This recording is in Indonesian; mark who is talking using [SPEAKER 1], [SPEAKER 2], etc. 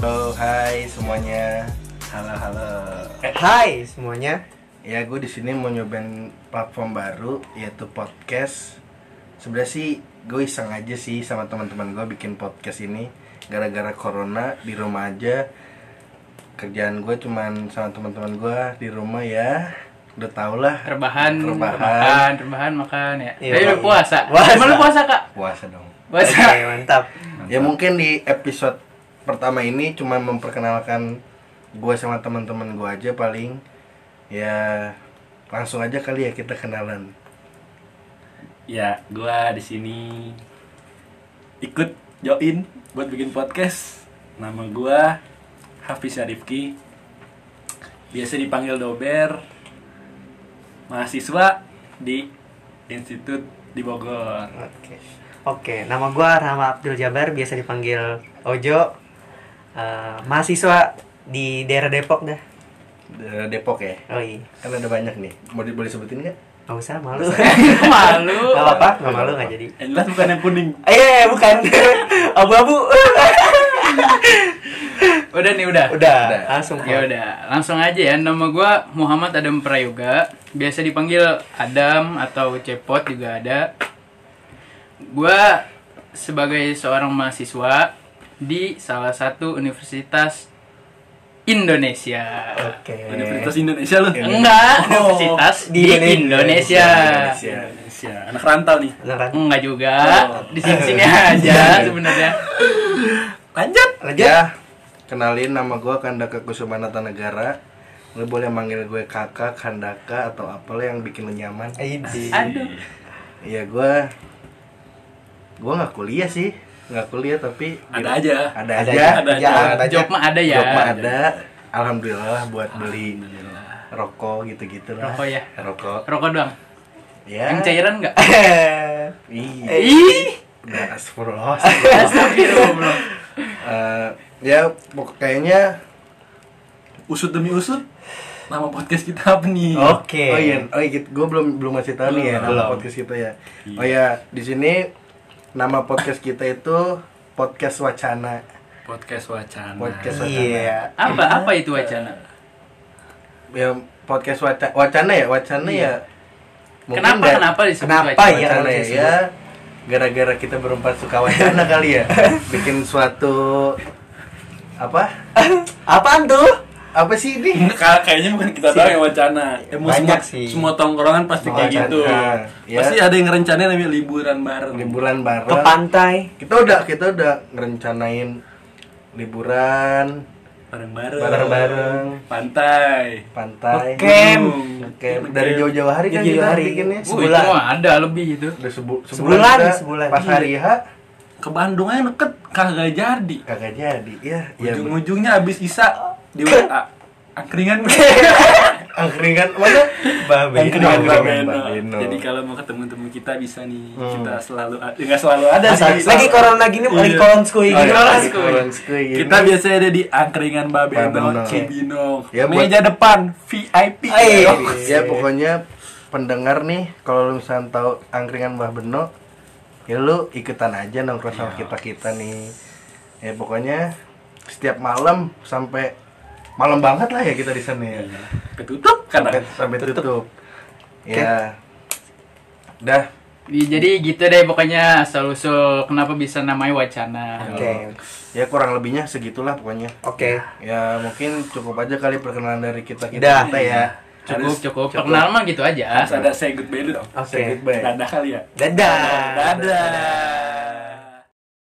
[SPEAKER 1] Bro, hai semuanya. Halo, halo.
[SPEAKER 2] Eh, Hai semuanya.
[SPEAKER 1] Ya, gue di sini mau nyobain platform baru yaitu podcast. Sebenarnya sih gue iseng aja sih sama teman-teman gue bikin podcast ini gara-gara corona di rumah aja. Kerjaan gue cuman sama teman-teman gue di rumah ya. Udah tau lah
[SPEAKER 3] rebahan
[SPEAKER 1] Rebahan.
[SPEAKER 3] rebahan rebahan makan ya
[SPEAKER 2] Iya,
[SPEAKER 3] tapi
[SPEAKER 2] iya.
[SPEAKER 3] udah puasa
[SPEAKER 2] Puasa.
[SPEAKER 3] Emang lu puasa kak
[SPEAKER 1] puasa dong.
[SPEAKER 3] puasa
[SPEAKER 2] Oke, mantap.
[SPEAKER 1] Ya mungkin di episode pertama ini cuma memperkenalkan gue sama teman-teman gue aja paling ya langsung aja kali ya kita kenalan.
[SPEAKER 4] Ya, gua di sini ikut join buat bikin podcast. Nama gua Hafiz Syarifki. Biasa dipanggil Dober. Mahasiswa di Institut di Bogor.
[SPEAKER 2] Oke. Oke, nama gua Rama Abdul Jabar, biasa dipanggil Ojo. Eh, mahasiswa di daerah Depok dah.
[SPEAKER 1] De- Depok ya.
[SPEAKER 2] Oi,
[SPEAKER 1] Kan ada banyak nih. Mau di- boleh sebutin nggak?
[SPEAKER 2] nggak usah malu.
[SPEAKER 3] malu
[SPEAKER 2] Gak apa-apa, gak malu gak jadi.
[SPEAKER 4] Yang jelas bukan kan yang kuning.
[SPEAKER 2] Eh, bukan. Abu-abu.
[SPEAKER 3] udah nih udah
[SPEAKER 2] Udah,
[SPEAKER 1] Udah.
[SPEAKER 2] langsung.
[SPEAKER 3] ya udah langsung aja ya nama gua Muhammad Adam Prayoga biasa dipanggil Adam atau Cepot juga ada gua sebagai seorang mahasiswa di salah satu universitas Indonesia
[SPEAKER 2] Oke.
[SPEAKER 1] Eh.
[SPEAKER 4] Universitas Indonesia lu.
[SPEAKER 3] enggak
[SPEAKER 4] Oh,
[SPEAKER 3] universitas
[SPEAKER 2] di
[SPEAKER 3] di,
[SPEAKER 2] Indonesia.
[SPEAKER 3] Indonesia,
[SPEAKER 1] Indonesia.
[SPEAKER 4] Indonesia. Anak rantau nih.
[SPEAKER 2] Beneran.
[SPEAKER 3] enggak juga
[SPEAKER 4] Oh.
[SPEAKER 3] di sini sini aja sebenarnya
[SPEAKER 4] Lanjut.
[SPEAKER 2] Lanjut.
[SPEAKER 1] Ya, kenalin nama gue Kandaka Kusuma Negara. Lo boleh manggil gue kakak, kandaka, atau apa lo yang bikin lo nyaman.
[SPEAKER 2] Idi.
[SPEAKER 3] aduh
[SPEAKER 1] Iya gue, gue nggak kuliah sih, nggak kuliah tapi
[SPEAKER 4] Ada aja.
[SPEAKER 1] ada
[SPEAKER 2] Ada
[SPEAKER 1] aja,
[SPEAKER 4] aja, ada
[SPEAKER 2] aja.
[SPEAKER 3] job mah ada ya
[SPEAKER 1] Job mah ada. Alhamdulillah buat beli rokok gitu-gitu lah.
[SPEAKER 3] Rokok ya?
[SPEAKER 1] Rokok.
[SPEAKER 3] rokok doang
[SPEAKER 1] Ya.
[SPEAKER 3] yang cairan nggak
[SPEAKER 2] Eh.
[SPEAKER 1] Ih.
[SPEAKER 3] ih
[SPEAKER 1] Udah astagfirullah. astagfirullah. Iya.
[SPEAKER 3] astagfirullah
[SPEAKER 1] Eh, ya pokok- kayaknya
[SPEAKER 4] Usut demi usut. Nama podcast kita apa nih?
[SPEAKER 2] Oke.
[SPEAKER 1] Oh iya, oh iya, gue belum belum ngasih tahu nih ya
[SPEAKER 4] Belum.
[SPEAKER 1] nama podcast kita ya.
[SPEAKER 3] Iya.
[SPEAKER 1] Oh ya, di sini nama podcast kita itu podcast wacana.
[SPEAKER 4] Podcast wacana.
[SPEAKER 1] Podcast wacana.
[SPEAKER 2] Iya.
[SPEAKER 3] apa apa itu wacana
[SPEAKER 1] Ya podcast wacana, wacana ya, wacana ya. Mungkin
[SPEAKER 3] Iya. kenapa
[SPEAKER 1] da-
[SPEAKER 3] kenapa disebut
[SPEAKER 2] Kenapa
[SPEAKER 3] wacana?
[SPEAKER 2] ya?
[SPEAKER 1] wacana ya?
[SPEAKER 2] disebut?
[SPEAKER 1] ya, gara-gara kita berempat suka wacana kali ya. Bikin suatu apa?
[SPEAKER 2] Apaan tuh?
[SPEAKER 1] Apa sih ini?
[SPEAKER 4] Enggak, kayaknya bukan kita doang yang wacana. Emang
[SPEAKER 2] Banyak
[SPEAKER 4] semua,
[SPEAKER 2] sih. iya.
[SPEAKER 4] semua tongkrongan pasti kayak
[SPEAKER 1] Wacana,
[SPEAKER 4] gitu.
[SPEAKER 1] ya.
[SPEAKER 4] Pasti ada yang rencanain namanya liburan bareng.
[SPEAKER 1] Liburan bareng.
[SPEAKER 2] Ke pantai.
[SPEAKER 1] Kita udah kita udah ngerencanain liburan
[SPEAKER 4] Bareng-bareng.
[SPEAKER 1] Bareng-bareng.
[SPEAKER 4] Pantai.
[SPEAKER 1] pantai.
[SPEAKER 2] Oke. Camp.
[SPEAKER 4] Gunung.
[SPEAKER 1] Oke, dari jauh-jauh hari kan
[SPEAKER 2] Jauh-jauh
[SPEAKER 1] kita
[SPEAKER 2] hari.
[SPEAKER 1] bikinnya.
[SPEAKER 3] Wuh,
[SPEAKER 2] Sebulan.
[SPEAKER 3] itu mah ada lebih itu
[SPEAKER 1] Udah sebu-
[SPEAKER 2] Sebulan,
[SPEAKER 1] kita
[SPEAKER 2] sebulan.
[SPEAKER 1] Pas hari H
[SPEAKER 4] Ke Bandung aja deket, kagak jadi.
[SPEAKER 2] Iya,
[SPEAKER 1] kagak jadi. Ya, ya.
[SPEAKER 4] Ujung-ujungnya abis Isa di WA. Angkringan
[SPEAKER 1] Angkringan mana?
[SPEAKER 4] Angkringan
[SPEAKER 1] Angkringan
[SPEAKER 4] Babeno.
[SPEAKER 1] Babeno.
[SPEAKER 4] Jadi kalau mau ketemu teman kita bisa nih.
[SPEAKER 1] Hmm.
[SPEAKER 4] Kita selalu ada, enggak selalu ada
[SPEAKER 2] Masa-
[SPEAKER 4] sih.
[SPEAKER 2] lagi corona gini, lagi
[SPEAKER 4] Iya.
[SPEAKER 2] kolonskui
[SPEAKER 1] Oh,
[SPEAKER 2] gini.
[SPEAKER 1] iya,
[SPEAKER 3] Orang
[SPEAKER 1] di
[SPEAKER 3] skuy.
[SPEAKER 1] Kolonskui ini.
[SPEAKER 4] Kita biasa ada di angkringan Babeno,
[SPEAKER 1] Babeno.
[SPEAKER 4] Cibinong,
[SPEAKER 1] Ya, buat-
[SPEAKER 4] meja depan VIP.
[SPEAKER 2] Ay.
[SPEAKER 4] Oh,
[SPEAKER 1] ya pokoknya pendengar nih kalau lu misalnya tahu angkringan Mbah Beno ya lu ikutan aja nongkrong
[SPEAKER 2] Iya.
[SPEAKER 1] sama kita kita nih ya pokoknya setiap malam sampai malam banget lah ya kita di sana ya
[SPEAKER 2] Iya.
[SPEAKER 4] ketutup kan?
[SPEAKER 1] sampai,
[SPEAKER 4] karena
[SPEAKER 1] sampai tutup ya dah
[SPEAKER 3] Ya, jadi gitu deh pokoknya asal usul kenapa bisa namanya wacana
[SPEAKER 2] Oke.
[SPEAKER 1] ya kurang lebihnya segitulah pokoknya
[SPEAKER 2] Oke.
[SPEAKER 1] ya mungkin cukup aja kali perkenalan dari kita kita,
[SPEAKER 2] Dah.
[SPEAKER 1] kita ya
[SPEAKER 3] cukup cukup perkenalan mah gitu aja
[SPEAKER 4] harus ada say goodbye dulu dong.
[SPEAKER 2] Oke.
[SPEAKER 1] Say goodbye.
[SPEAKER 4] Dadah kali ya.
[SPEAKER 2] Dadah.
[SPEAKER 4] Dadah.